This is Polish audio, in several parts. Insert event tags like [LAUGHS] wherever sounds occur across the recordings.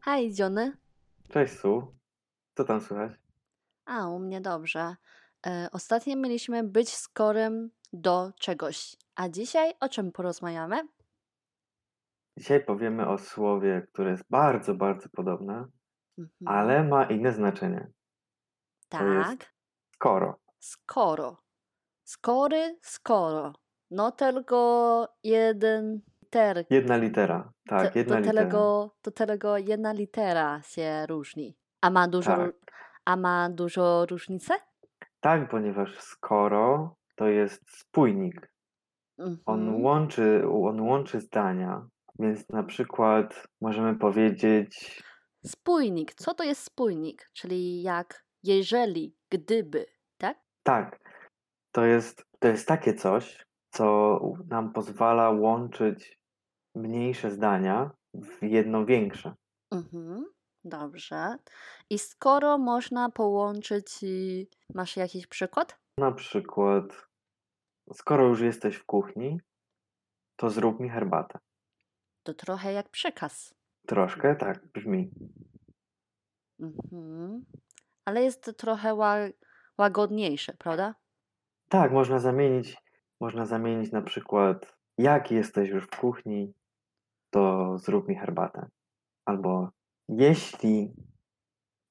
Hej, Dziony. Cześć Su. Co tam słychać? A, u mnie dobrze. E, ostatnio mieliśmy być skorym do czegoś. A dzisiaj o czym porozmawiamy? Dzisiaj powiemy o słowie, które jest bardzo, bardzo podobne, Mhm. ale ma inne znaczenie. to jest- Tak, Skoro. skoro. Skory, skoro. No tylko jeden liter. Jedna litera. Tak, Te- jedna do, litera. tego, do tego jedna litera się różni. A ma dużo, Tak. ró- a ma dużo różnicy? tak, ponieważ skoro to jest spójnik. On, Mhm. łączy, on łączy zdania, więc na przykład możemy powiedzieć Spójnik. Co to jest spójnik? Czyli jak jeżeli, gdyby, tak? tak. To jest, to jest takie coś, co nam pozwala łączyć mniejsze zdania w jedno większe. Mhm, dobrze. I skoro można połączyć, i- masz jakiś przykład? Na przykład, skoro już jesteś w kuchni, to zrób mi herbatę. To trochę jak przekaz. Troszkę tak brzmi. Mhm. Ale jest to trochę ła łagodniejsze, prawda? Tak, można zamienić, można zamienić na przykład, jak jesteś już w kuchni, to zrób mi herbatę. Albo jeśli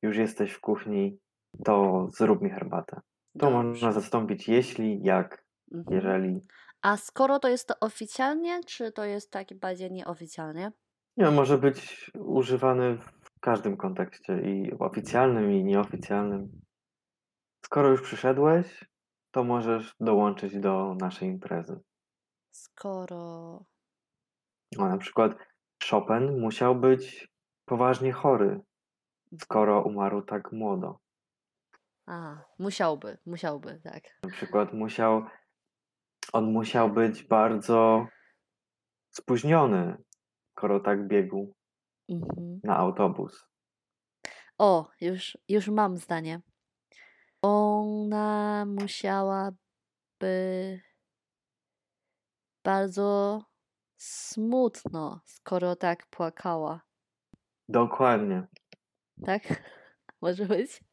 już jesteś w kuchni, to zrób mi herbatę. To Tak. można zastąpić jeśli, jak, Mhm. jeżeli. A skoro to jest to oficjalnie, czy to jest takie bardziej nieoficjalnie? Nie, on może być używany w każdym kontekście i oficjalnym, i nieoficjalnym. Skoro już przyszedłeś, to możesz dołączyć do naszej imprezy. Skoro. No, na przykład Chopin musiał być poważnie chory, skoro umarł tak młodo. A, musiałby, musiałby, tak. Na przykład musiał, on musiał być bardzo spóźniony, skoro tak biegł Mhm. na autobus. O, już, już mam zdanie. Ona musiałaby bardzo smutno, skoro tak płakała, Dokładnie. tak? [LAUGHS] Może być?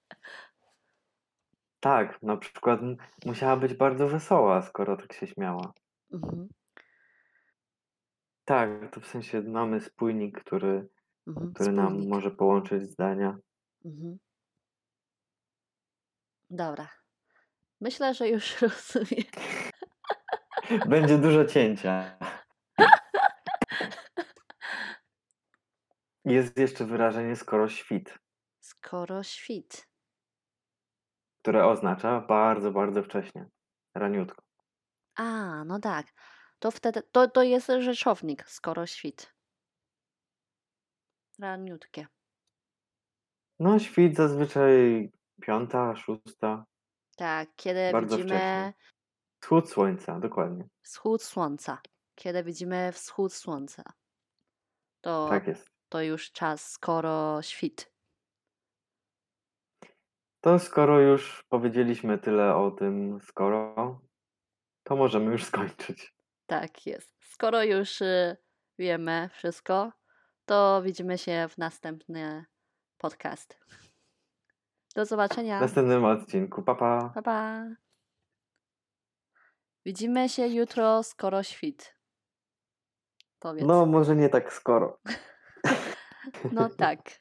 Tak, na przykład m- musiała być bardzo wesoła, skoro tak się śmiała. Mhm, Tak, to w sensie mamy spójnik, który, mhm, który nam spójnik. może połączyć zdania. Mhm. Dobra. Myślę, że już [LAUGHS] rozumiem. Będzie dużo cięcia. Jest jeszcze wyrażenie skoro świt, Skoro świt. które oznacza bardzo, bardzo wcześnie, raniutko. A, no tak. To wtedy, to, to jest rzeczownik, skoro świt. Raniutkie. No, świt zazwyczaj piąta, szósta, Tak, kiedy Bardzo widzimy wcześnie. wschód słońca, dokładnie. wschód słońca. Kiedy widzimy wschód słońca, to, Tak jest. to już czas, skoro świt. To skoro już powiedzieliśmy tyle o tym skoro, to możemy już skończyć. Tak jest. Skoro już y, wiemy wszystko, to widzimy się w następny podcast. Do zobaczenia. W następnym odcinku. Pa, pa. Pa, pa. Widzimy się jutro, skoro świt. Powiedz. No, może nie tak skoro. no tak.